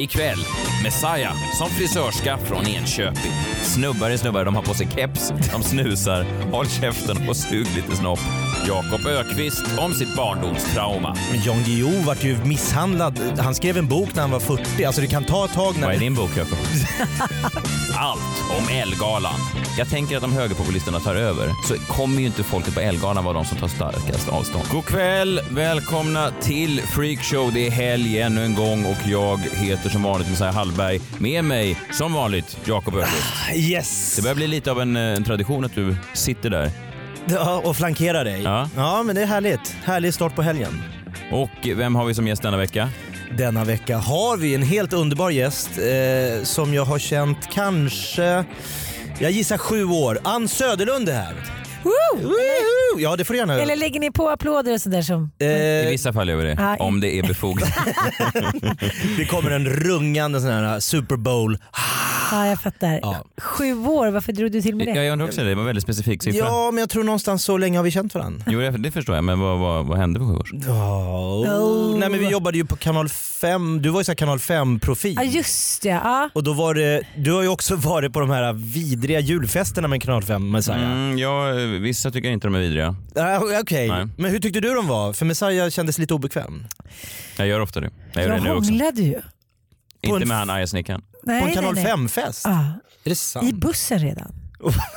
Ikväll, Messiah som frisörska från Enköping. Snubbar är snubbar, de har på sig keps, de snusar, håll käften och sug lite snopp. Jakob Ökvist om sitt barndomstrauma. Men Jan Guillou vart ju misshandlad. Han skrev en bok när han var 40. Alltså det kan ta ett tag när... Vad är din bok, Jakob? Allt om Elgalan. Jag tänker att om högerpopulisterna tar över så kommer ju inte folket på Elgalan vara de som tar starkast avstånd. God kväll, välkomna till Freakshow. Det är helg ännu en gång och jag heter som vanligt Messiah Hallberg. Med mig, som vanligt, Jakob Öqvist. Yes! Det börjar bli lite av en, eh, en tradition att du sitter där. Ja, och flankera dig. Ja. men det är härligt. Härlig start på helgen. Och vem har vi som gäst denna vecka? Denna vecka har vi en helt underbar gäst eh, som jag har känt kanske... Jag gissar sju år. Ann Söderlund är här. Woo! Woho! Ja, det får du gärna göra. Eller lägger ni på applåder och sådär som... ah, I Eh, vissa fall gör vi det, ja. om det är befogat. det kommer en rungande sån här Super Bowl. Ja, jag fattar. Ja. Sju år, varför drog du till med det? Ja, Ah, jag undrar också det, det var en väldigt specifik siffra. Ja, men jag tror någonstans så länge har vi känt varandra. Jo, det- det förstår jag, men vad, vad, vad hände för sju år sedan? Oh. Nej men vi jobbade ju på kanal 5, du var ju så här kanal 5 profil. Ja, just det. Ja. Och då var det, du har ju också varit på de här vidriga julfesterna med kanal 5 Messiah. Mm, ja, vissa tycker inte de är vidriga. Ah, Okej, Nej. men hur tyckte du de var? För Messiah kändes lite obekväm. Jag gör ofta det. Jag gör Jag det nu också. hånglade ju. Inte en- med han arga snickaren. På Nej, en kanal nej, nej. 5-fest? Ja, Är det I sant? bussen redan.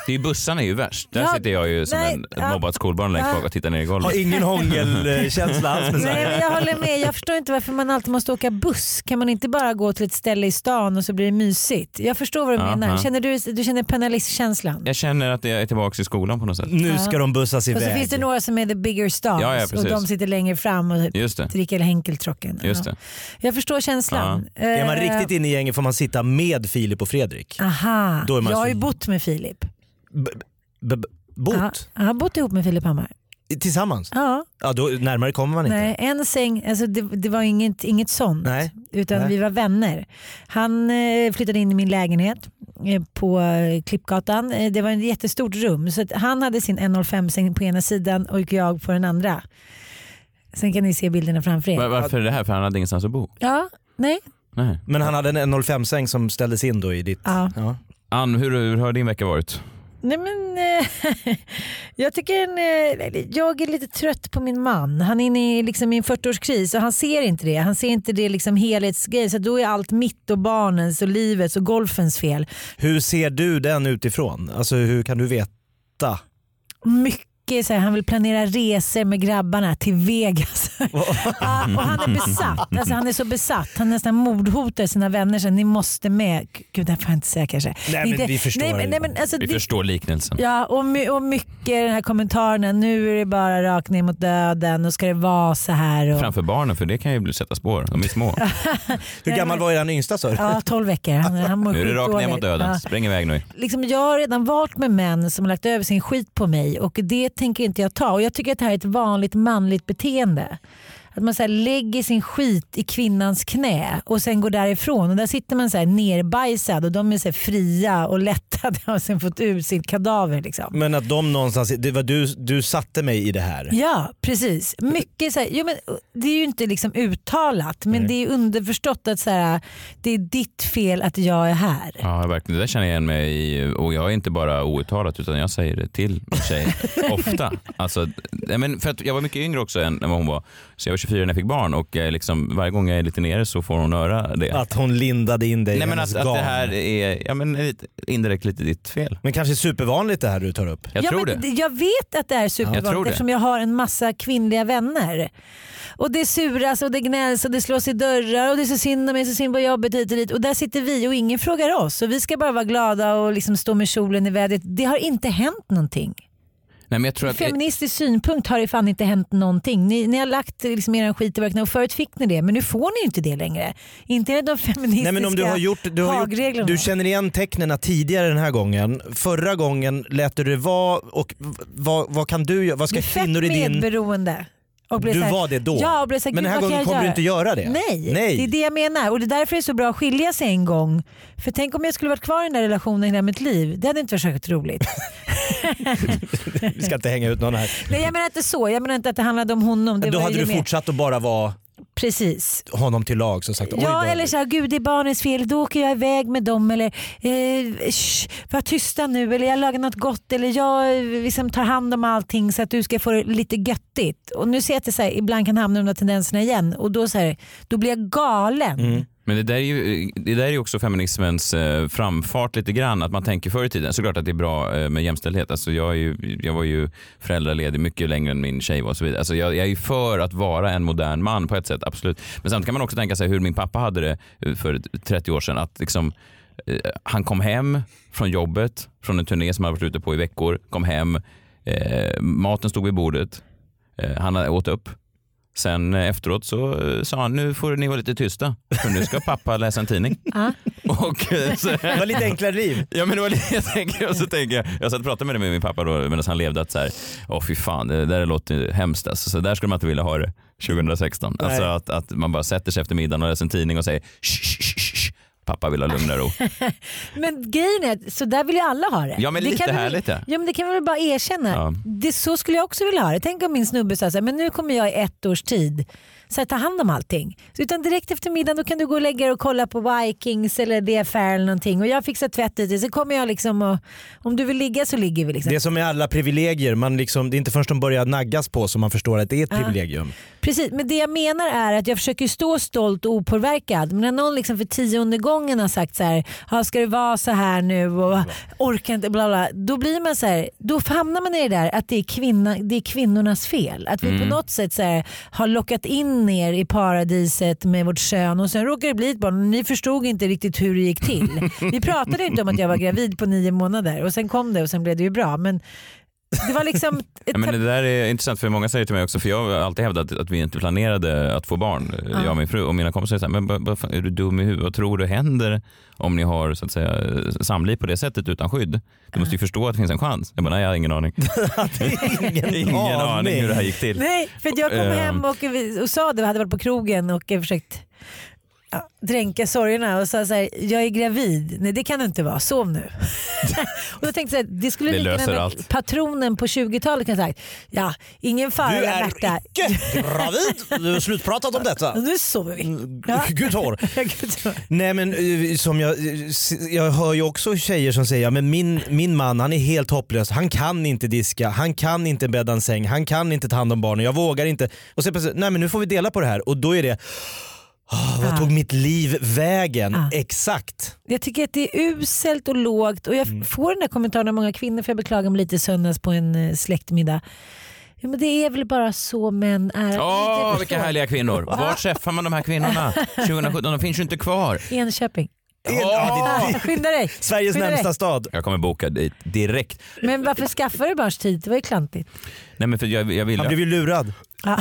Det är ju bussarna är ju värst. Där Ja, sitter jag ju som nej, en, ett ja. mobbat skolbarn längst bak och tittar ner i golvet. Har ingen hångelkänsla alls Nej, Messiah. men jag håller med. Jag förstår inte varför man alltid måste åka buss. Kan man inte bara gå till ett ställe i stan och så blir det mysigt? Jag förstår vad du Aha. menar. Känner du, du känner penalistkänslan? Jag känner att jag är tillbaka i skolan på något sätt. Nu ska de bussas Och så iväg. finns det några som är the bigger stars Ja, ja, och precis. de sitter längre fram och typ Just det. dricker Henkeltrocken. Just det. Jag förstår känslan. Är man Eh, riktigt inne i gänget får man sitta med Filip och Fredrik. Aha, Då är man jag så- har ju bott med Filip. B- b- b- Bot? Ja, jag har bott ihop med Filip Hammar. Tillsammans? Ja, Ja, då, närmare kommer man inte. nej, en säng, alltså det, det var inget, inget sånt. Nej. Utan Nej. vi var vänner. Han eh, flyttade in i min lägenhet eh, på eh, Klippgatan. Eh, det var ett jättestort rum. Så att han hade sin 105-säng på ena sidan och jag på den andra. Sen kan ni se bilderna framför er. Var, varför är det här? För han hade ingenstans att bo? Ja, nej. Nej. Men han hade en 105-säng som ställdes in då i ditt... Ja. Ann, hur, hur har din vecka varit? Nej men eh, jag tycker en, eh, jag är lite trött på min man. Han är inne i, liksom, i en 40-årskris och han ser inte det. Han ser inte det liksom helhetsgrejen. Så då är allt mitt och barnens och livets och golfens fel. Hur ser du den utifrån? Alltså hur kan du veta? Mycket så här, han vill planera resor med grabbarna till Vegas. Ja, och han är besatt. Alltså, han är så besatt. Han nästan mordhotar sina vänner. Så, ni måste med. Gud, det här får jag inte säga kanske. Nej, men Inte- vi förstår Nej, men, nej, men, alltså, Vi det, förstår liknelsen. Ja, och, my- och mycket den här kommentaren nu är det bara rakt ner mot döden och ska det vara så här. Och, Framför barnen, för det kan ju bli- sätta spår. De är små. Hur gammal var den yngsta sa du? Ja, 12 veckor. Han, han mår Nu är det rakt ner skitdåligt. mot döden. Ja. Spräng iväg nu. Liksom, jag har redan varit med män som har lagt över sin skit på mig och det tänker inte jag ta. Och jag tycker att det här är ett vanligt manligt beteende. Att man så här lägger sin skit i kvinnans knä och sen går därifrån. Och där sitter man så här nerbajsad och de är så här fria och lättade och har sen fått ut sitt kadaver. Liksom. Men att de någonstans, det var du, du satte mig i det här. Ja, precis. Mycket så här, jo, men eh, det är ju inte liksom uttalat men det är underförstått att så här, det är ditt fel att jag är här. Ja, verkligen. Det där känner jag igen mig i. Och jag är inte bara outtalat, utan jag säger det till min tjej ofta. Alltså, nej, men för att jag var mycket yngre också än än vad hon var. Så jag var 24 när jag fick barn och eh, liksom, varje gång jag är lite nere så får hon höra det. Att hon lindade in dig i nej, men hennes att, att garn. det här är ja, men, lite- indirekt lite ditt fel. Men kanske supervanligt det här du tar upp. Jag ja, tror men det. Jag vet att det är Jag tror supervanligt det. eftersom jag har en massa kvinnliga vänner. Och Det suras och det gnälls och det slås i dörrar och det är så synd om mig, så synd på jobbet hit och dit. Och där sitter vi och ingen frågar oss. Och vi ska bara vara glada och liksom stå med kjolen i vädret. Det har inte hänt någonting. Nej, men jag tror att... Feministisk synpunkt har det fan inte hänt någonting. Ni, ni har lagt liksom er skit i verkligen och förut fick ni det men nu får ni ju inte det längre. Inte enligt de feministiska Nej, men om du, har gjort, du, har gjort, lagreglerna. du känner igen tecknen tidigare den här gången. Förra gången lät du det vara och v- vad, vad kan du göra? Vad ska Blir fett kvinnor i din... medberoende. Och blir Du så här- var det då. Ja, och blir så här, Men den "Gud, här vad kan gången jag kommer du inte göra det. Nej, Nej. det är det jag menar. Och det är därför det är så bra att skilja sig en gång. För tänk om jag skulle varit kvar i den där relationen hela mitt liv. Det hade inte varit särskilt roligt. Vi ska inte hänga ut någon här. Nej, jag menar inte så. Jag menar inte att det handlade om honom. Det Då var hade ju du med. fortsatt att bara vara Precis. honom till lag som sagt. Oj, Ja då. eller såhär, gud det är barnens fel, då åker jag iväg med dem eller eh, shh, var tysta nu eller jag lagar något gott eller jag eh, liksom, tar hand om allting så att du ska få det lite göttigt. Och nu ser jag att det så här, ibland kan hamna i de där tendenserna igen och då, så här, då blir jag galen. Mm. Men det där är ju det där är ju också feminismens eh, framfart lite grann. Att man tänker förr i tiden, såklart att det är bra eh, med jämställdhet. Alltså jag, är ju, jag var ju föräldraledig mycket längre än min tjej var och så vidare. Alltså jag, jag är ju för att vara en modern man på ett sätt, absolut. Men samtidigt kan man också tänka sig hur min pappa hade det eh, för 30 år sedan. Att liksom, eh, han kom hem från jobbet, från en turné som han varit ute på i veckor, kom hem, eh, maten stod vid bordet, eh, han åt upp. Sen eh, efteråt så eh, sa han, nu får ni vara lite tysta, för nu ska pappa läsa en tidning. Ja. och, eh, så, Det var lite enklare liv. ja, men det var lite, jag, tänker, och så tänker jag, jag satt och pratade med, det med min pappa då, medan han levde att så här, åh fy fan, det där låter ju hemskt alltså, så där skulle man inte vilja ha det 2016. Alltså Nej. att, att man bara sätter sig efter middagen och läser en tidning och säger, "Shh, shh, shh, shh, pappa vill ha lugn och ro. Men grejen är att så där vill ju alla ha det. Ja, men det lite kan vi- härligt, ja. Ja men det kan vi väl bara erkänna. Ja. Det, så skulle jag också vilja ha det. Tänk om min snubbe sa så här, men nu kommer jag i ett års tid så här, ta hand om allting. Så, utan direkt efter middagen då kan du gå och lägga dig och kolla på Vikings eller The Affair eller någonting och jag fixar tvättet i så kommer jag liksom och om du vill ligga så ligger vi liksom. Det är som med alla privilegier, man liksom, det är inte förrän de börjar naggas på som man förstår att det är Ah. ett privilegium. Precis, men det jag menar är att jag försöker stå stolt och opåverkad. Men när någon liksom för tionde gången har sagt så här, "Ja, ska det vara så här nu och orkar inte, bla bla. Då blir man så här, då hamnar man i det där att det är, kvinna, det är kvinnornas fel. Att vi Mm. på något sätt så här, har lockat in er i paradiset med vårt kön och sen råkar det bli ett barn. Ni förstod inte riktigt hur det gick till. Vi pratade inte om att jag var gravid på nio månader och sen kom det och sen blev det ju bra. Men det var liksom ett Ja, men det där är intressant för många säger till mig också, för jag har alltid hävdat att vi inte planerade att få barn, eh, jag och min fru. Och mina kompisar säger så här, men vad- vad fan, är du dum i huvudet? Vad tror du händer om ni har så att säga, samliv på det sättet utan skydd? Du måste ju förstå att det finns en chans. Jag bara, nej jag har ingen aning. Ingen, Ingen aning hur det här gick till. Nej, för att jag kom Ehm. hem och, och sa det, vi hade varit på krogen och eh, försökt ja, dränka sorgerna och sa så här, jag är gravid. Nej det kan du inte vara, sov nu. och då tänkte jag så här, det skulle Det lika löser gärna allt. patronen på 20-talet kan ha sagt, ja ingen fara Du är Märta, icke gravid, du har slutpratat om detta. nu sover vi. Ja. Mm, Gud har. Ja, gud, så. Nej men eh, som jag, eh, s- jag hör ju också tjejer som säger ja, men min, min man han är helt hopplös, han kan inte diska, han kan inte bädda en säng, han kan inte ta hand om barnen, jag vågar inte. Och sen plötsligt, nej men nu får vi dela på det här och då är det, "Ah, vad Ah. tog mitt liv vägen? Ah. Exakt. Jag tycker att det är uselt och lågt och jag Mm. får den där kommentaren av många kvinnor för jag beklagar mig lite i söndags på en eh, släktmiddag. Ja, men det är väl bara så män är. Åh, Jag vilka förstår. härliga kvinnor. Var träffar man de här kvinnorna 2017? De finns ju inte kvar. Enköping. Åh! Ah, skynda dig! Sveriges Skynda dig. närmsta stad. Jag kommer boka dit direkt. Men varför skaffade du barns tid? Det var ju klantigt. Nej, men för jag, jag, Han ville, blev ju lurad. Ja.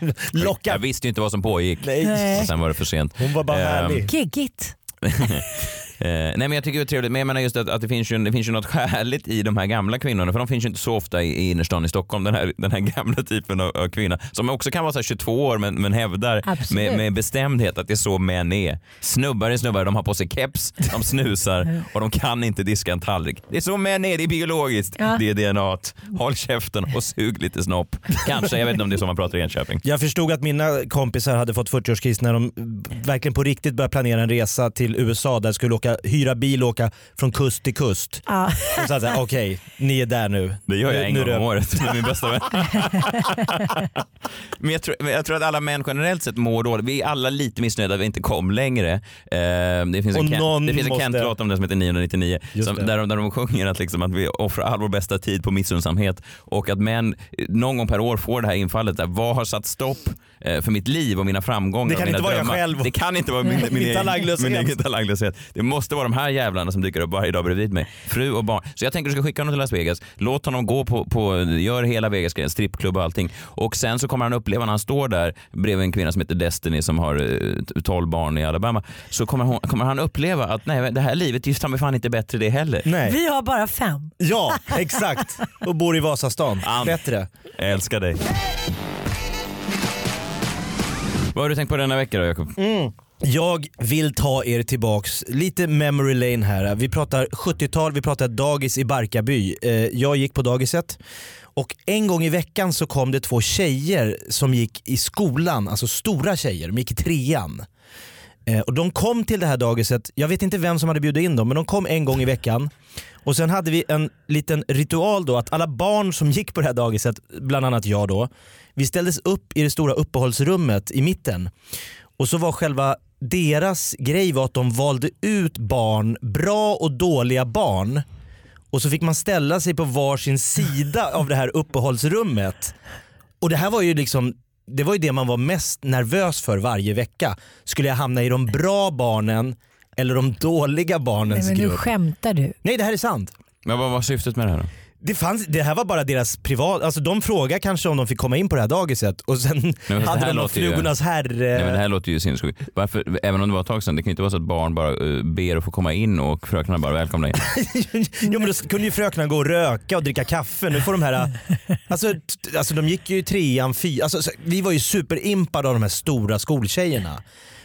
jag Lockad. visste ju inte vad som pågick. Nej. Och sen var det för sent. Hon var bara Ehm, härlig. Giggigt. Eh, nej men jag tycker det är trevligt, men jag menar just att, att det, finns ju, en- det finns ju något skärligt i de här gamla kvinnorna, för de finns ju inte så ofta i, i innerstan i Stockholm, den här, den här gamla typen av, av kvinna, som också kan vara så här 22 år men, men hävdar Absolut. med, med bestämdhet att det är så män är. Snubbar är snubbar, de har på sig keps, de snusar och de kan inte diska en tallrik. Det är så män är, det är biologiskt, Ja. det är DNA. -t. Håll käften och sug lite snopp. Kanske, jag vet inte om det är så man pratar i Enköping. Jag förstod att mina kompisar hade fått 40-årskris när de verkligen på riktigt började planera en resa till USA där de skulle åka, hyra bil och åka från kust till kust. Ja. Och så att säga, okej, ni är där nu. Det gör jag Nu- en nu gång är om det- året med min bästa vän. men, jag tror, men jag tror att alla män generellt sett mår dåligt. Vi är alla lite missnöjda att vi inte kom längre. Eh, det finns Och en, någon Ken, det finns en måste- Kent-låt om det som heter 999 Just som, det. där, de, där de sjunger att, liksom, att vi offrar all vår bästa tid på missunnsamhet och att män eh, någon gång per år får det här infallet. Där, vad har satt stopp eh, för mitt liv och mina framgångar? Det kan och mina inte vara jag drömmar? själv. Det kan inte vara min, min, Min egen, talanglöshet. min egen talanglöshet. Det måste vara de här jävlarna som dyker upp varje dag bredvid mig. Fru och barn. Så jag tänker att du ska skicka honom till Las Vegas. Låt honom gå på, på gör hela Vegas-grejen, strippklubb och allting. Och sen så kommer han uppleva när han står där bredvid en kvinna som heter Destiny som har eh, 12 barn i Alabama. Så kommer, hon, kommer han uppleva att nej, det här livet är ju ta mig fan inte bättre det heller. Nej. Vi har bara fem. Ja, exakt. Och bor i Vasastan. Ann. Bättre. Jag älskar dig. Vad har du tänkt på denna vecka då Jakob? Jag vill ta er tillbaks lite memory lane här. Vi pratar 70-tal, vi pratar dagis i Barkarby. Eh, Jag gick på dagiset och en gång i veckan så kom det två tjejer som gick i skolan, alltså stora tjejer, de gick i trean. Eh, Och de kom till det här dagiset, jag vet inte vem som hade bjudit in dem, men de kom en gång i veckan. Och sen hade vi en liten ritual då att alla barn som gick på det här dagiset, bland annat jag då, vi ställdes upp i det stora uppehållsrummet i mitten. Och så var själva deras grej var att de valde ut barn, bra och dåliga barn. Och så fick man ställa sig på varsin sida av det här uppehållsrummet. Och det här var ju liksom det var ju det man var mest nervös för varje vecka. Skulle jag hamna i de bra barnen eller de dåliga barnens Nej, men nu grupp? skämtar du. Nej, det här är sant. Men vad var syftet med det här då? Det, fanns, det här var bara deras privat... Alltså de frågade kanske om de fick komma in på det här dagiset och sen men det hade här de någon låter ju- Flugornas herre... Nej, men det här låter ju sinnessjukt. Varför, även om det var ett tag sedan, det kan ju inte vara så att barn bara eh, ber att få komma in och fröknarna bara välkomna in. jo men då kunde ju fröknarna gå och röka och dricka kaffe. Nu får de här... Alltså, t- alltså de gick ju i trean, fyran. Alltså, så- vi var ju superimpade av de här stora skoltjejerna.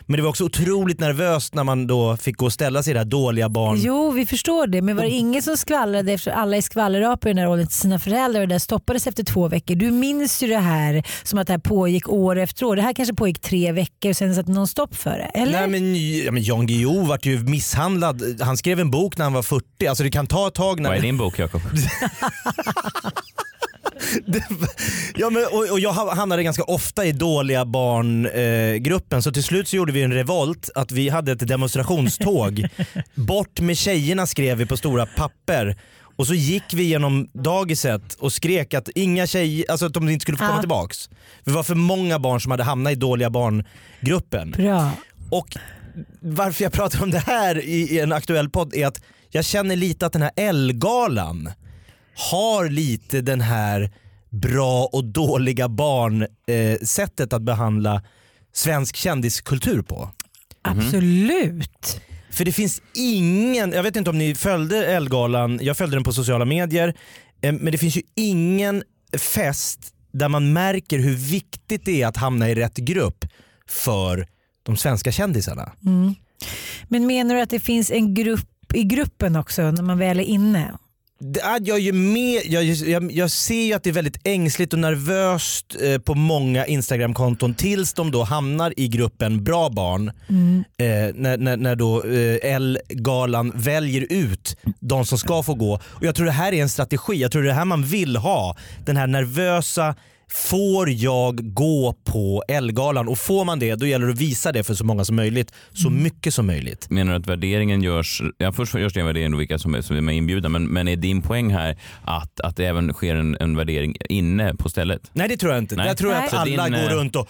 Men det var också otroligt nervöst när man då fick gå och ställa sig i det här dåliga barn... Jo, vi förstår det. Men var det ingen som skvallrade efter alla är skvallerapor i den här åldern till sina föräldrar och det där stoppades efter två veckor. Du minns ju det här som att det här pågick år efter år. Det här kanske pågick tre veckor och sen satte någon stopp för det. Eller? Nej men, ja, men Jan Guillou vart ju misshandlad. Han skrev en bok när han var 40. Alltså det kan ta ett tag när... Vad är din bok Jakob? Det var- ja, men, och, och jag ha- hamnade ganska ofta i dåliga barngruppen eh, gruppen, så till slut så gjorde vi en revolt att vi hade ett demonstrationståg. Bort med tjejerna skrev vi på stora papper. Och så gick vi genom dagiset och skrek att inga tjejer, alltså att de inte skulle få komma Ah. tillbaks. Vi var för många barn som hade hamnat i dåliga barngruppen. Bra. Och varför jag pratar om det här i, i en aktuell podd är att jag känner lite att den här L-galan har lite den här bra och dåliga barn-sättet att behandla svensk kändiskultur på. Absolut. För det finns ingen, jag vet inte om ni följde Ellegalan, jag följde den på sociala medier, eh, men det finns ju ingen fest där man märker hur viktigt det är att hamna i rätt grupp för de svenska kändisarna. Men menar du att det finns en grupp i gruppen också när man väl är inne? Det är, jag, är ju med, jag, är- jag, jag ser ju att det är väldigt ängsligt och nervöst eh, på många Instagramkonton tills de då hamnar i gruppen bra barn. Eh, när, när, när då eh, L-galan väljer ut de som ska få gå. Och Jag tror det här är en strategi, jag tror det är det här man vill ha. Den här nervösa Får jag gå på L-galan? Och får man det, då gäller det att visa det för så många som möjligt. Så mycket som möjligt. Menar du att värderingen görs, ja först görs det en värdering då vilka som är, som är inbjudna, men, men är din poäng här att, att det även sker en, en värdering inne på stället? Nej det tror jag inte. Nej. Jag tror Nej. att Så din, alla eh, går runt och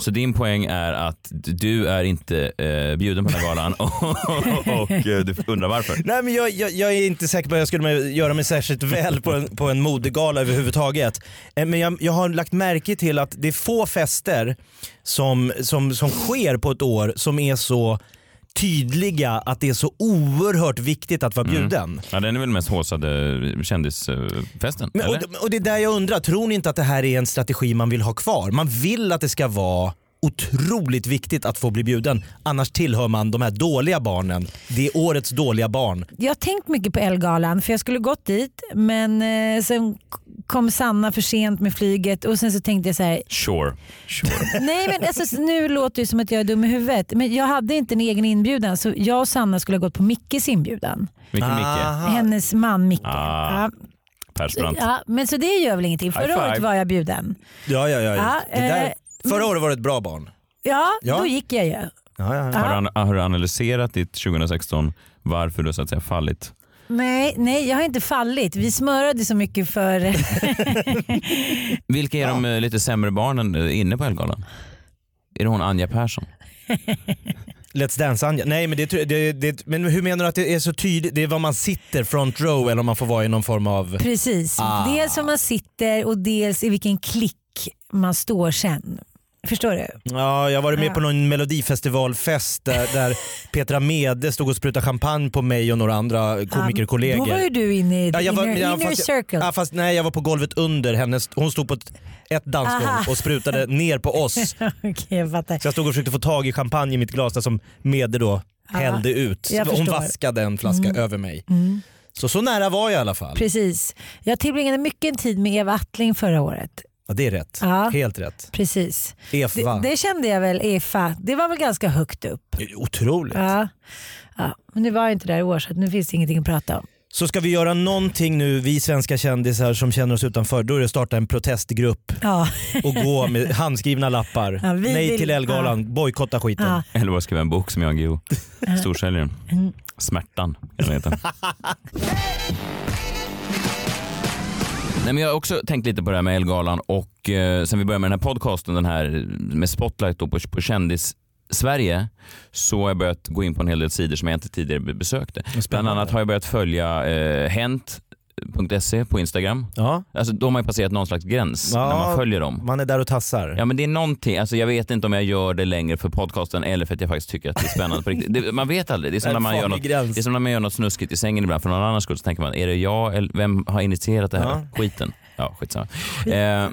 Så din poäng är att du är inte eh, bjuden på den här galan och, eh, du undrar varför? Nej men jag, jag, jag är inte säker på att jag skulle göra mig särskilt väl på en, på en modegala överhuvudtaget. Eh, Men jag, jag har lagt märke till att det är få fester som, som, som sker på ett år som är så tydliga att det är så oerhört viktigt att vara bjuden. Ja, den är väl mest håsade kändisfesten? Men, eller? och, och det är där jag undrar, tror ni inte att det här är en strategi man vill ha kvar? Man vill att det ska vara otroligt viktigt att få bli bjuden. Annars tillhör man de här dåliga barnen. Det är årets dåliga barn. Jag har tänkt mycket på Ellegalan för jag skulle gått dit men eh, sen k- kom Sanna för sent med flyget och sen så tänkte jag så här, Sure. sure. Nej men alltså, nu låter det som att jag är dum i huvudet. Men jag hade inte en egen inbjudan så jag och Sanna skulle ha gått på Mickes inbjudan. Vilken Ah. Micke? Aha. Hennes man Micke. Ah. Ja. Persbrandt. Ja, men så det gör väl ingenting. High Förra five. året var jag bjuden. Ja, ja, ja. Ja, det där, eh, förra året var det ett bra barn. Ja, Ja. då gick jag ju. Ja, ja, Har, du, an- har du analyserat ditt 2016 varför du så att säga fallit? Nej, nej, jag har inte fallit. Vi smörade så mycket för... Vilka är de eh, lite sämre barnen eh, inne på Ellegalan? Är det hon Anja Persson? Let's dance Anja. Nej men, det, tror jag- det, det, men hur menar du att det är så tydligt? Det är vad man sitter front row eller om man får vara i någon form av... Precis. Ah. Dels hur man sitter och dels i vilken klick man står sen. Förstår du? Ja, jag har varit med på någon melodifestivalfest där, där Petra Mede stod och sprutade champagne på mig och några andra Ah, Då var ju komikerkollegor. du inne i the Ja, jag var- inner, ja, inner fast jag- circle. Ja, fast nej, jag var på golvet under hennes. Hon stod på ett, ett dansgolv Aha. och sprutade ner på oss. Okej, jag fattar. Så jag stod och försökte få tag i champagne i mitt glas där som Mede då hällde ut. jag Hon förstår. Mm. vaskade en flaska över mig. Så så nära var jag i alla fall. Precis. Jag tillbringade mycket tid med Eva Attling förra året. Ja, det är rätt. Ja. Helt rätt. Precis. Eva. Det, det kände jag väl, EFA. Det var väl ganska högt upp. Otroligt. Ja. Ja. Men nu var jag inte där i år så att nu finns det ingenting att prata om. Så ska vi göra någonting nu, vi svenska kändisar som känner oss utanför, då är det att starta en protestgrupp Ja. och gå med handskrivna lappar. Ja, vi Nej vill- till Elgalan, bojkotta skiten. Ja. Eller bara skriva en bok som Jan Guillou. Storsäljaren. Smärtan, kan den heta. Nej, men jag har också tänkt lite på det här med Elgalan och eh, sen vi började med den här podcasten, den här med spotlight då på, på kändis Sverige så har jag börjat gå in på en hel del sidor som jag inte tidigare be- besökte. Bland spännande. annat har jag börjat följa eh, hent.se E på Instagram. Ja. Alltså, de har ju passerat någon slags gräns Ja. när man följer dem. Man är där och tassar. Ja men det är någonting, alltså jag vet inte om jag gör det längre för podcasten eller för att jag faktiskt tycker att det är spännande på riktigt. Det, man vet aldrig. Det är, som En när man gör farlig något, gräns. det är som när man gör något snuskigt i sängen ibland för någon annans skull så tänker man, är det jag eller vem har initierat det här skiten? Ja skitsamma. Eh, ja,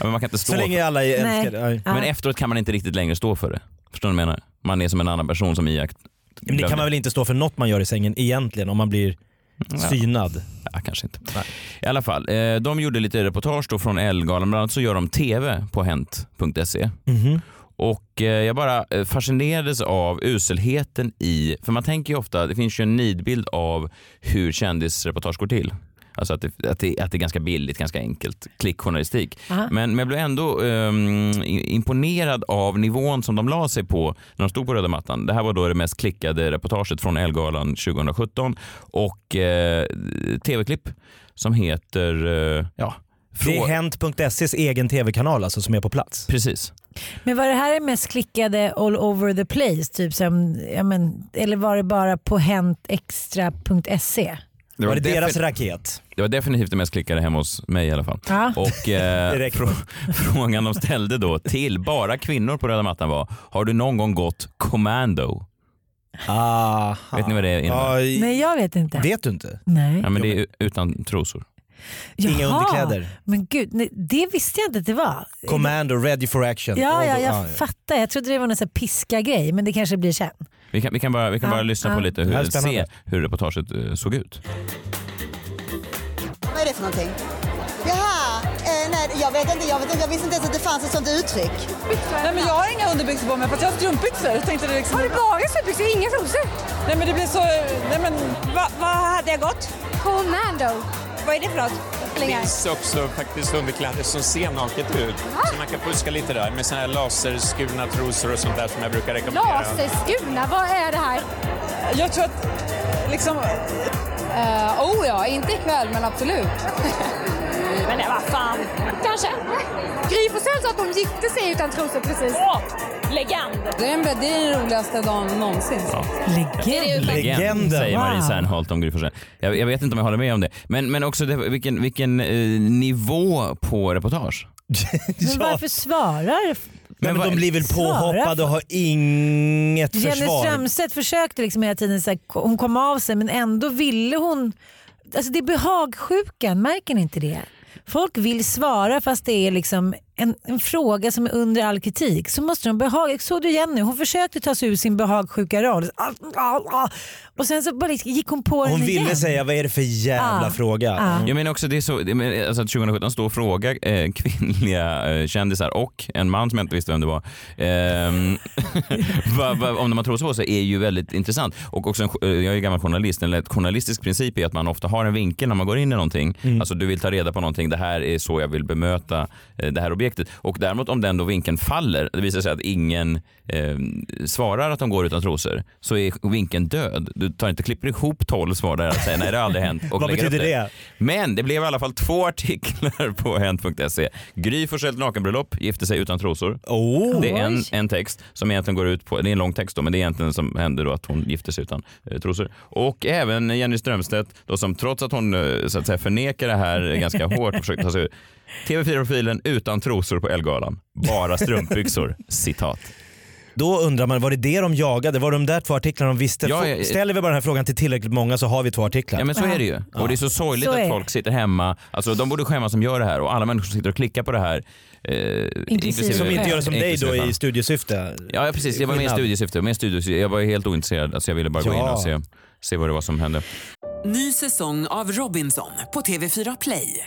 men man kan inte stå Så länge alla är Nej. älskade. Nej. för, Men efteråt kan man inte riktigt längre stå för det. Förstår du vad jag menar? Man är som en annan person som iakt... Men det kan man väl inte stå för något man gör i sängen egentligen om man blir synad. Ja, kanske inte. I alla fall, eh, de gjorde lite reportage då från Ellegalan, bland annat så gör de TV på hent.se. Och eh, jag bara eh, fascinerades av uselheten i, för man tänker ju ofta, det finns ju en nidbild av hur kändisreportage går till. Alltså att det, att, det, att det är ganska billigt, ganska enkelt, klickjournalistik. Aha. Men, men jag blev ändå ehm, i- imponerad av nivån som de la sig på när de stod på röda mattan. Det här var då det mest klickade reportaget från Ellegalan 2017 och eh, tv-klipp som heter, eh, ja, Det är frå- Hent.ses egen tv-kanal alltså som är på plats. Precis. Men var det här det mest klickade all over the place? Typ som, ja, men, eller var det bara på hentextra.se? Var det defi- deras raket? Det var definitivt det mest klickade hemma hos mig i alla fall. Ja. Och eh, Det räcker. frå- frågan de ställde då till bara kvinnor på röda mattan var, har du någon gång gått commando? Ah, Aha. Vet ni vad det innebär? Ja, i- Nej jag vet inte. Vet du inte? Nej. Ja, men det är u- utan trosor. Inga Jaha. underkläder. Men gud, nej, det visste jag inte att det var. Commando, ready for action. Ja, ja, jag Ah, fattar. Jag trodde det var någon sån här piska-grej, men det kanske blir sen. Vi kan, vi kan bara, vi kan Ja, bara lyssna ja. på lite Det här är hur, se spännande. hur reportaget eh, såg ut. Vad är det för någonting? Jaha, eh, nej, jag vet inte, jag vet inte, jag visste inte ens att det fanns ett sånt uttryck. Nej men jag har inga underbyxor på mig fast jag har strumpbyxor. Tänkte det liksom... Har du bara strumpbyxor? Inga trosor? Nej men det blir så... Nej men... Vad hade jag gått? Commando. Vad är det för något? Det finns också faktiskt underkläder som ser naket ut. Så man kan fuska lite där med såna här laserskurna trosor och sånt där som jag brukar rekommendera. Laserskurna, vad är det här? Jag tror att liksom... Uh, oh ja, inte ikväll men absolut. men nej, vad fan. Kanske. Gry Forssell sa att hon gifte sig utan trosor precis. Åh, legend! Det är, en, det är den roligaste dagen någonsin. Legend. Legend, Legenden. säger Marie Wow. Serneholt om Gry Forssell. jag, jag vet inte om jag håller med om det. Men, men också det, vilken, vilken eh, nivå på reportage. Men ja. varför svarar Men, Men men de vad- blir väl Svara påhoppade och har inget Jenny försvar. Strömstedt försökte liksom hela tiden, så här, hon kom av sig men ändå ville hon... Alltså det är behagsjukan, märker ni inte det? Folk vill svara fast det är liksom en, en fråga som är under all kritik. Så måste de behaga. Såg du Jenny? Hon försökte ta sig ur sin behagsjuka roll. Ah, ah, ah. Och sen så bara liksom gick hon på Hon den igen. ville säga vad är det för jävla Ah, fråga. ah. Jag menar också det är så, det- men, alltså att 2017 står och frågar eh, kvinnliga eh, kändisar och en man som jag inte visste vem det var ehm, vad- vad- om de har trosor på sig är ju väldigt intressant. Och också en, jo- eh, jag är gammal journalist, en lätt journalistisk princip är att man ofta har en vinkel när man går in i någonting. Alltså du vill ta reda på någonting, det här är så jag vill bemöta eh, det här objektet. Och däremot om den då vinkeln faller, det visar sig att ingen eh, svarar att de går utan trosor, så är vinkeln död. Du tar inte klipper ihop 12 svar där och säger nej det har aldrig hänt. Och Vad lägger upp betyder det? Men det blev i alla fall två artiklar på hent.se. E. Gry Forssell nakenbröllop, gifte sig utan trosor. Oh. Det är en, en text som egentligen går ut på, det är en lång text då, men det är egentligen som händer då att hon gifter sig utan eh, trosor. Och även Jenny Strömstedt då som trots att hon eh, så att säga förnekar det här eh, ganska hårt och försöker ta sig ur. TV4-profilen utan trosor på Elgalan. Bara strumpbyxor. Citat. Då undrar man, var det det de jagade? Var det de där två artiklarna de visste? Ja, Få- ja, ja. Ställer vi bara den här frågan till tillräckligt många så har vi två artiklar. Ja men så är det ju. Och det är så sorgligt Så är att det. folk sitter hemma. Alltså de borde skämmas som gör det här och alla människor som sitter och klickar på det här. Eh, inklusive- Som inte gör det som dig då inklusive- i studiesyfte. Ja, ja, precis. Jag var med i Skillnad. studiesyfte. Med i studiesyfte. Jag var ju helt ointresserad. Alltså, jag ville bara gå in Ja. och se, se vad det var som hände. Ny säsong av Robinson på TV4 Play.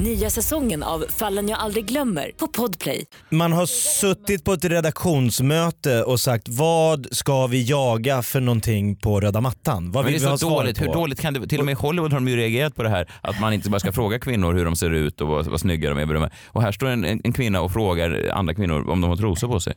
Nya säsongen av Fallen jag aldrig glömmer på Podplay. Man har suttit på ett redaktionsmöte och sagt vad ska vi jaga för någonting på röda mattan? Vad Men vill det vi ha är så svar dåligt. på? Hur dåligt kan det Till och med i Hollywood har de ju reagerat på det här att man inte bara ska fråga kvinnor hur de ser ut och vad, vad snygga de är. vad de är. Och här står en, en en kvinna och frågar andra kvinnor om de har trosor på sig.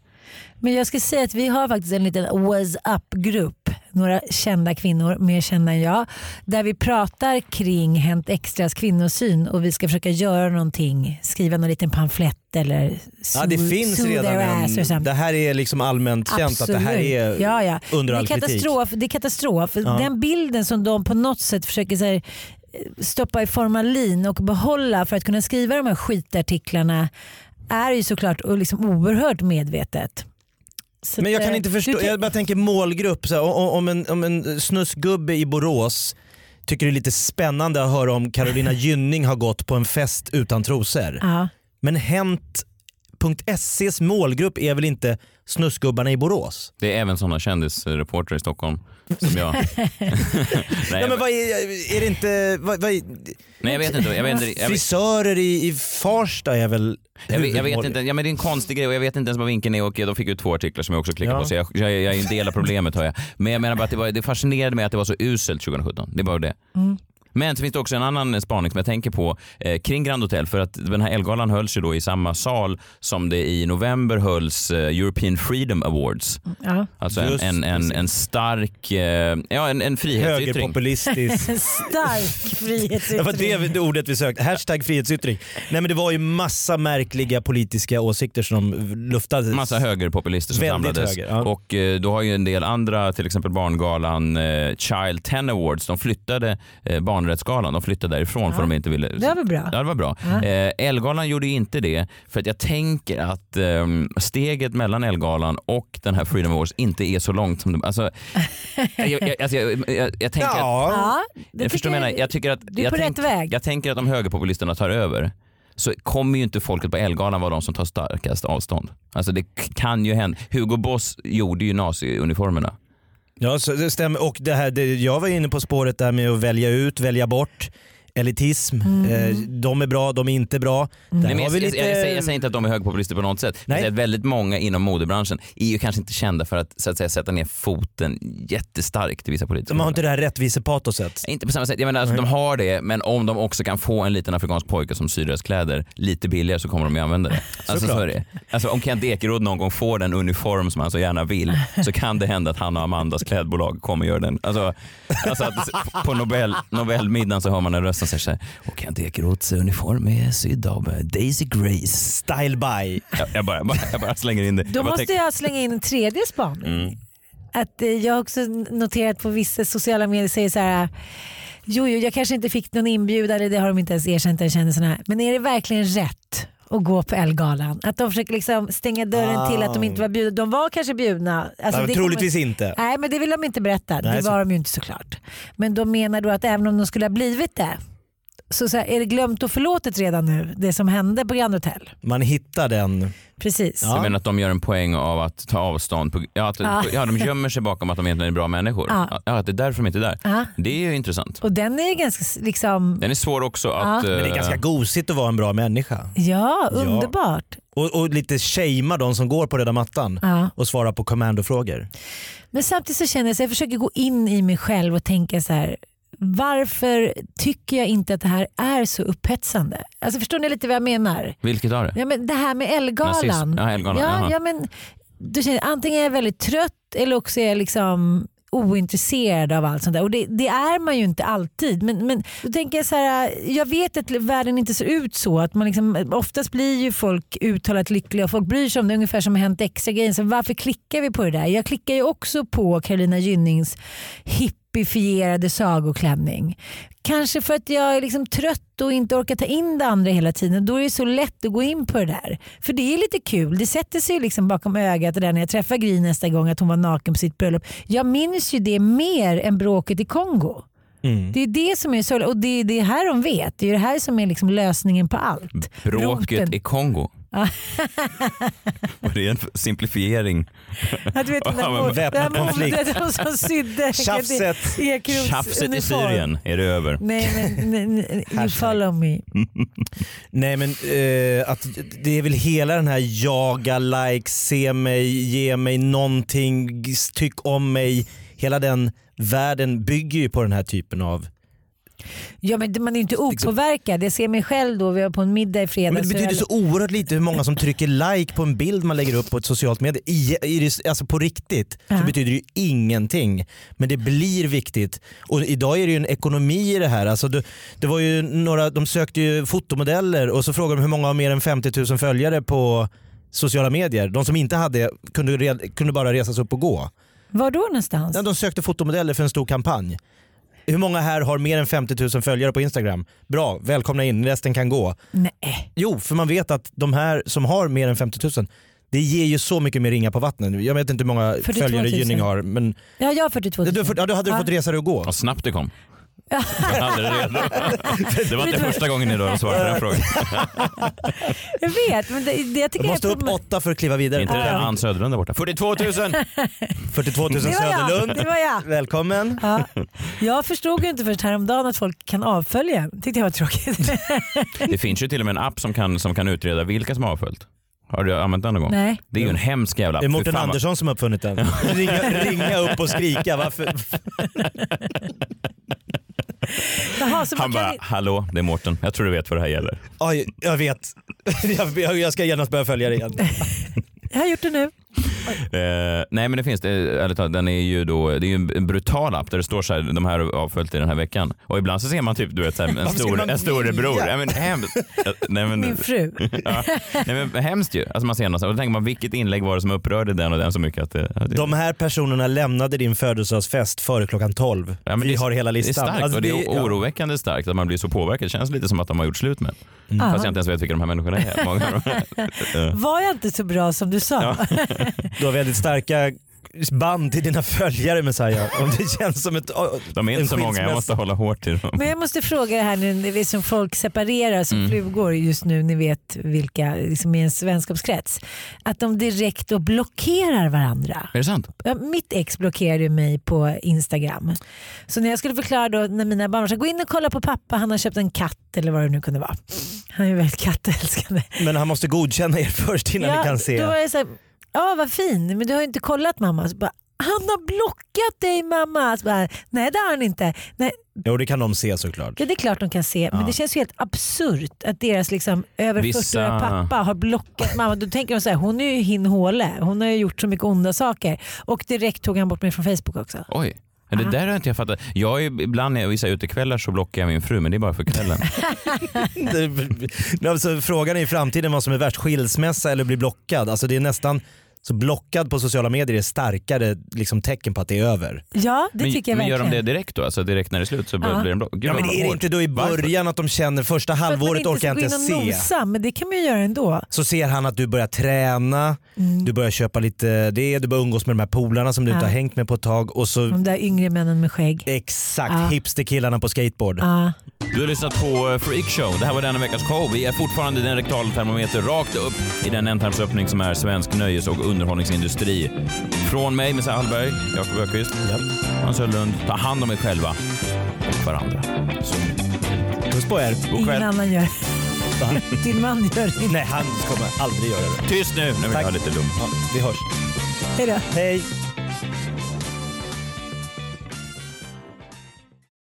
Men jag ska säga att vi har faktiskt en liten was up-grupp. Några kända kvinnor, mer kända än jag. Där vi pratar kring Hänt Extras kvinnosyn och vi ska försöka göra någonting. Skriva någon liten pamflett eller Ja, det sue- finns sue redan their ass or en, something. Det här är liksom allmänt känt att det här är ja, ja. under all det är kritik. katastrof, Det är katastrof. Ja. Den bilden som de på något sätt försöker så här, eh, stoppa i formalin och behålla för att kunna skriva de här skitartiklarna är ju såklart och liksom oerhört medvetet. Så Men jag att, kan eh, inte förstå, du kan- jag bara tänker målgrupp. Så här, o- o- om, en, om en snusgubbe i Borås tycker det är lite spännande att höra om Carolina Gynning har gått på en fest utan trosor. Ja. Men Hent.ses målgrupp är väl inte snusgubbarna i Borås? Det är även sådana kändisreportrar i Stockholm som jag. nej, Ja, men vad är, är det inte... Vad, vad är, nej, jag vet inte. Jag vet, inte- jag vet, frisörer i, i Farsta är väl jag vet, jag vet huvudmål- inte, ja, men det är en konstig grej och jag vet inte ens vad vinkeln är och de fick ut två artiklar som jag också klickade Ja. på så jag, jag, jag är en del av problemet hör jag. Men jag menar bara att det, var, det fascinerade mig att det var så uselt 2017. Det var det. Mm. Men så finns det också en annan spaning som jag tänker på eh, kring Grand Hotel för att den här Elgalan hölls ju då i samma sal som det i november hölls eh, European Freedom Awards. Ja. Alltså en, Just en, en, en stark, eh, ja en, en frihetsyttring. Högerpopulistisk. En stark Det var det, vi- frihetsyttring. det ordet vi sökte. Hashtag frihetsyttring. Nej men det var ju massa märkliga politiska åsikter som luftades. Massa högerpopulister som Väldigt samlades. höger, ja. Och eh, då har ju en del andra, till exempel Barngalan, eh, Child 10 Awards, de flyttade eh, Barnrättsgalan, de flyttade därifrån för de inte ville... Det var väl bra? Ja, det var bra. Eh, Elgalan gjorde ju inte det för att jag tänker att ehm, steget mellan Elgalan och den här Freedom Awards inte är så långt som det... Alltså, jag, jag, alltså, jag, jag, jag, jag tänker att... Ja. Ja, det Jag tycker förstår vad jag menar. Jag tycker att, Du är jag på tänk- rätt väg. Jag tänker att om högerpopulisterna tar över så kommer ju inte folket på Elgalan vara de som tar starkast avstånd. Alltså det k- kan ju hända. Hugo Boss gjorde ju naziuniformerna. Ja, så det stämmer. Och det här, det, jag var inne på spåret där med att välja ut, välja bort. Elitism. Eh, de är bra, de är inte bra. Där Nej, men har jag, vi jag, lite... jag, jag, säger, jag säger inte att de är högerpopulister på något sätt. Men Nej. jag säger att väldigt många inom modebranschen är ju kanske inte kända för att, så att säga, sätta ner foten jättestarkt i vissa politiska de har inte det här rättvisepatoset. Inte på samma sätt. Jag menar, alltså, de har det, men om de också kan få en liten afrikansk pojke som syr deras kläder lite billigare så kommer de ju använda det. Alltså, så är det. Alltså, om Kent Ekeroth någon gång får den uniform som han så gärna vill så kan det hända att han och Amandas klädbolag kommer göra den. Alltså, alltså att på Nobel, Nobelmiddagen så hör man en röst som säger så här, och Kent Ekeroths uniform är sydd av Daisy Grace. Style by. Jag, jag, bara, jag, bara, jag bara slänger in det. Då jag bara måste jag slänga in en tredje spaning. Mm. Att eh, jag har också noterat på vissa sociala medier säger så här. Jo, jo, jag kanske inte fick någon inbjudan, eller det har de inte ens erkänt den kändisen här. Men är det verkligen rätt och gå på Ellegalan. Att de försöker liksom stänga dörren Ah. till att de inte var bjudna. De var kanske bjudna. Alltså, Ja, det troligtvis inte. Nej men det vill de inte berätta. Nej, det så- var de ju inte såklart. Men de menar då att även om de skulle ha blivit det så, så här, är det glömt och förlåtet redan nu det som hände på Grand Hotel. Man hittar den. Precis. Du menar att de gör en poäng av att ta avstånd? På, ja, att, Ja. ja, de gömmer sig bakom att de egentligen är bra människor. Ja. Ja, att det är därför de inte är där. Ja. Det är ju intressant. Och den är ju ganska liksom, Den är svår också Ja. att... Men det är eh, ganska gosigt att vara en bra människa. ja Ja. underbart. Och, och lite shamea de som går på röda mattan Ja. och svara på kommandofrågor. Men samtidigt så känner jag så här, jag försöker gå in i mig själv och tänka så här. Varför tycker jag inte att det här är så upphetsande? Alltså förstår ni lite vad jag menar? Vilket var det? Ja, men det här med Nazism. Ellegalan. Ja, Ellegalan, ja, jaha. ja, men du känner, antingen är jag väldigt trött eller också är jag liksom ointresserad av allt sånt där. Och det, det är man ju inte alltid. Men, men då tänker jag så här, jag vet att världen inte ser ut så. Att man liksom, oftast blir ju folk uttalat lyckliga och folk bryr sig om det. Ungefär som har hänt extra grejen. Så varför klickar vi på det där? Jag klickar ju också på Carolina Gynnings hippifierade sagoklänning. Kanske för att jag är liksom trött och inte orkar ta in det andra hela tiden. Då är det så lätt att gå in på det där. För det är lite kul. Det sätter sig ju liksom bakom ögat det där när jag träffar Gry nästa gång att hon var naken på sitt bröllop. Jag minns ju det mer än bråket i Kongo. Mm. Det är det som är så och det är det här de vet. Det är det här som är liksom lösningen på Mm. allt. Bråket Roten. i Kongo. Var det en simplifiering? Att du vet den där Ja, men- mor- den där mor- som sydde Tjafset. Ekroths Tjafset i uniform. Syrien är det över. Nej men nej, nej, you follow me. Mm. Nej men eh, att det är väl hela den här jaga, like, se mig, ge mig någonting, g- tyck om mig. Hela den världen bygger ju på den här typen av... Ja men man är ju inte opåverkad. Jag ser mig själv då, vi var på en middag i fredags. Liksom- Men det så betyder jag- så oerhört lite hur många som trycker like på en bild man lägger upp på ett socialt medie. I, i, det- alltså på riktigt så Ja. betyder det ju ingenting. Men det blir viktigt. Och idag är det ju en ekonomi i det här. Alltså det, det var ju några, de sökte ju fotomodeller och så frågade de hur många har mer än 50 000 följare på sociala medier. De som inte hade kunde, red- kunde bara resas upp och gå. Var då någonstans? Ja, de sökte fotomodeller för en stor kampanj. Hur många här har mer än 50 000 följare på Instagram? Bra, välkomna in, resten kan gå. Nej. Jo, för man vet att de här som har mer än 50 000, det ger ju så mycket mer ringar på vattnet. Jag vet inte hur många 42 000. följare Gynning har, men Ja jag har 42 000. du, ja, då hade du Ja. fått resa dig och gå. Vad snabbt det kom. Jag hade det redo. Det var inte första gången idag jag svarade på den frågan. Jag vet men det, det jag tycker Du måste är upp åtta för att kliva vidare. Inte den Ann Söderlund där borta. 42 000! 42 000 Det var jag, Söderlund. det var jag. Välkommen. Ja. Jag förstod ju inte först häromdagen att folk kan avfölja en. tyckte jag var tråkigt. Det finns ju till och med en app som kan, som kan utreda vilka som har avföljt. Har du använt den någon gång? Nej. Det är ju en hemsk jävla app. Det är Fy Mårten fan vad- Andersson som har uppfunnit den. ringa, ringa upp och skrika. Varför? Jaha, så man Han bara, kan... hallå det är Mårten. Jag tror du vet vad det här gäller. Aj, jag vet. Jag, jag, jag ska genast börja följa det igen. Jag har gjort det nu. Eh, nej men det finns det, ärligt talat, den är ju då, det är ju en- en brutal app där det står så här, de här har avföljt i den här veckan. Och ibland så ser man typ, du vet, så här, en, Varför ska man stor, en storebror. vilja? Nej, men, hemskt. Eh, nej, men, Min fru. ja, nej, men, hemskt ju. Alltså man ser något, så här, och då tänker man vilket inlägg var det som upprörde den och den så mycket att det, att det De här personerna lämnade din födelsedagsfest före klockan 12. Ja, Vi men det är- har hela listan. Det är starkt Alltså, och det är ja. oroväckande starkt att man blir så påverkad. Det känns lite som att de har gjort slut med mm. Fast jag inte ens vet vilka de här människorna är. Många av dem. Eh, Var jag inte så bra som du sa? Du har väldigt starka band till dina följare Messiah. Om det känns som ett, De är inte en så många, jag skilsmässa. måste hålla hårt i dem. Men jag måste fråga det här nu när vi som folk separerar som flugor just nu, ni vet vilka liksom i en vänskapskrets. Att de direkt då blockerar varandra. Är det sant? Ja, mitt ex blockerade ju mig på Instagram. Så när jag skulle förklara då när mina barn sa gå in och kolla på pappa, han har köpt en katt eller vad det nu kunde vara. Han är ju väldigt kattälskande. Men han måste godkänna er först innan ni kan se. Då var jag så här, ja vad fin, men du har ju inte kollat mamma. Så bara, han har blockat dig mamma. Så bara, Nej det har han inte. Nej, Jo det kan de se såklart. Ja, det är klart de kan se, men Ja. det känns ju helt absurt att deras liksom över Vissa- 40-åriga pappa har blockat mamma. Då tänker de så här, hon är ju hin håle. Hon har ju gjort så mycket onda saker. Och direkt tog han bort mig från Facebook också. Oj. Ja, Det där har inte jag fattat. Jag är, ibland när jag vissa utekvällar så blockerar jag min fru men det är bara för kvällen. Det- alltså, frågan är i framtiden vad som är värst, skilsmässa eller bli blockad. Alltså, det är nästan Så blockad på sociala medier är starkare liksom, tecken på att det är över. Ja, det men, tycker jag men gör verkligen. de det direkt då? Alltså direkt när det är slut så blir Ja. blir det en block? Gud, Ja, men vad är det hårt. inte då i början att de känner första För att man halvåret inte orkar jag ska inte gå in och se. Nosa, men det kan man ju göra ändå. Så ser han att du börjar träna, Mm. du börjar köpa lite det, du börjar umgås med de här polarna som du inte Ja. har hängt med på ett tag och så De där yngre männen med skägg. exakt Ja. hipsterkillarna på skateboard. Ja. Du har lyssnat på eh, Freak Show. Det här var denna veckas show. Vi är fortfarande i den rektaltermometer rakt upp i den ändtarmsöppning som är svensk nöjes och underhållningsindustri. Från mig, Messiah Hallberg, Jakob Öqvist, Hans Öhlund. Ta hand om er själva och varandra. Så. Puss på er. God Ingen kväll. annan gör Din man gör det. Nej, han kommer aldrig göra det. Tyst nu! Nu vill jag Tack. ha lite lugn. Vi hörs. Hej då. Hej.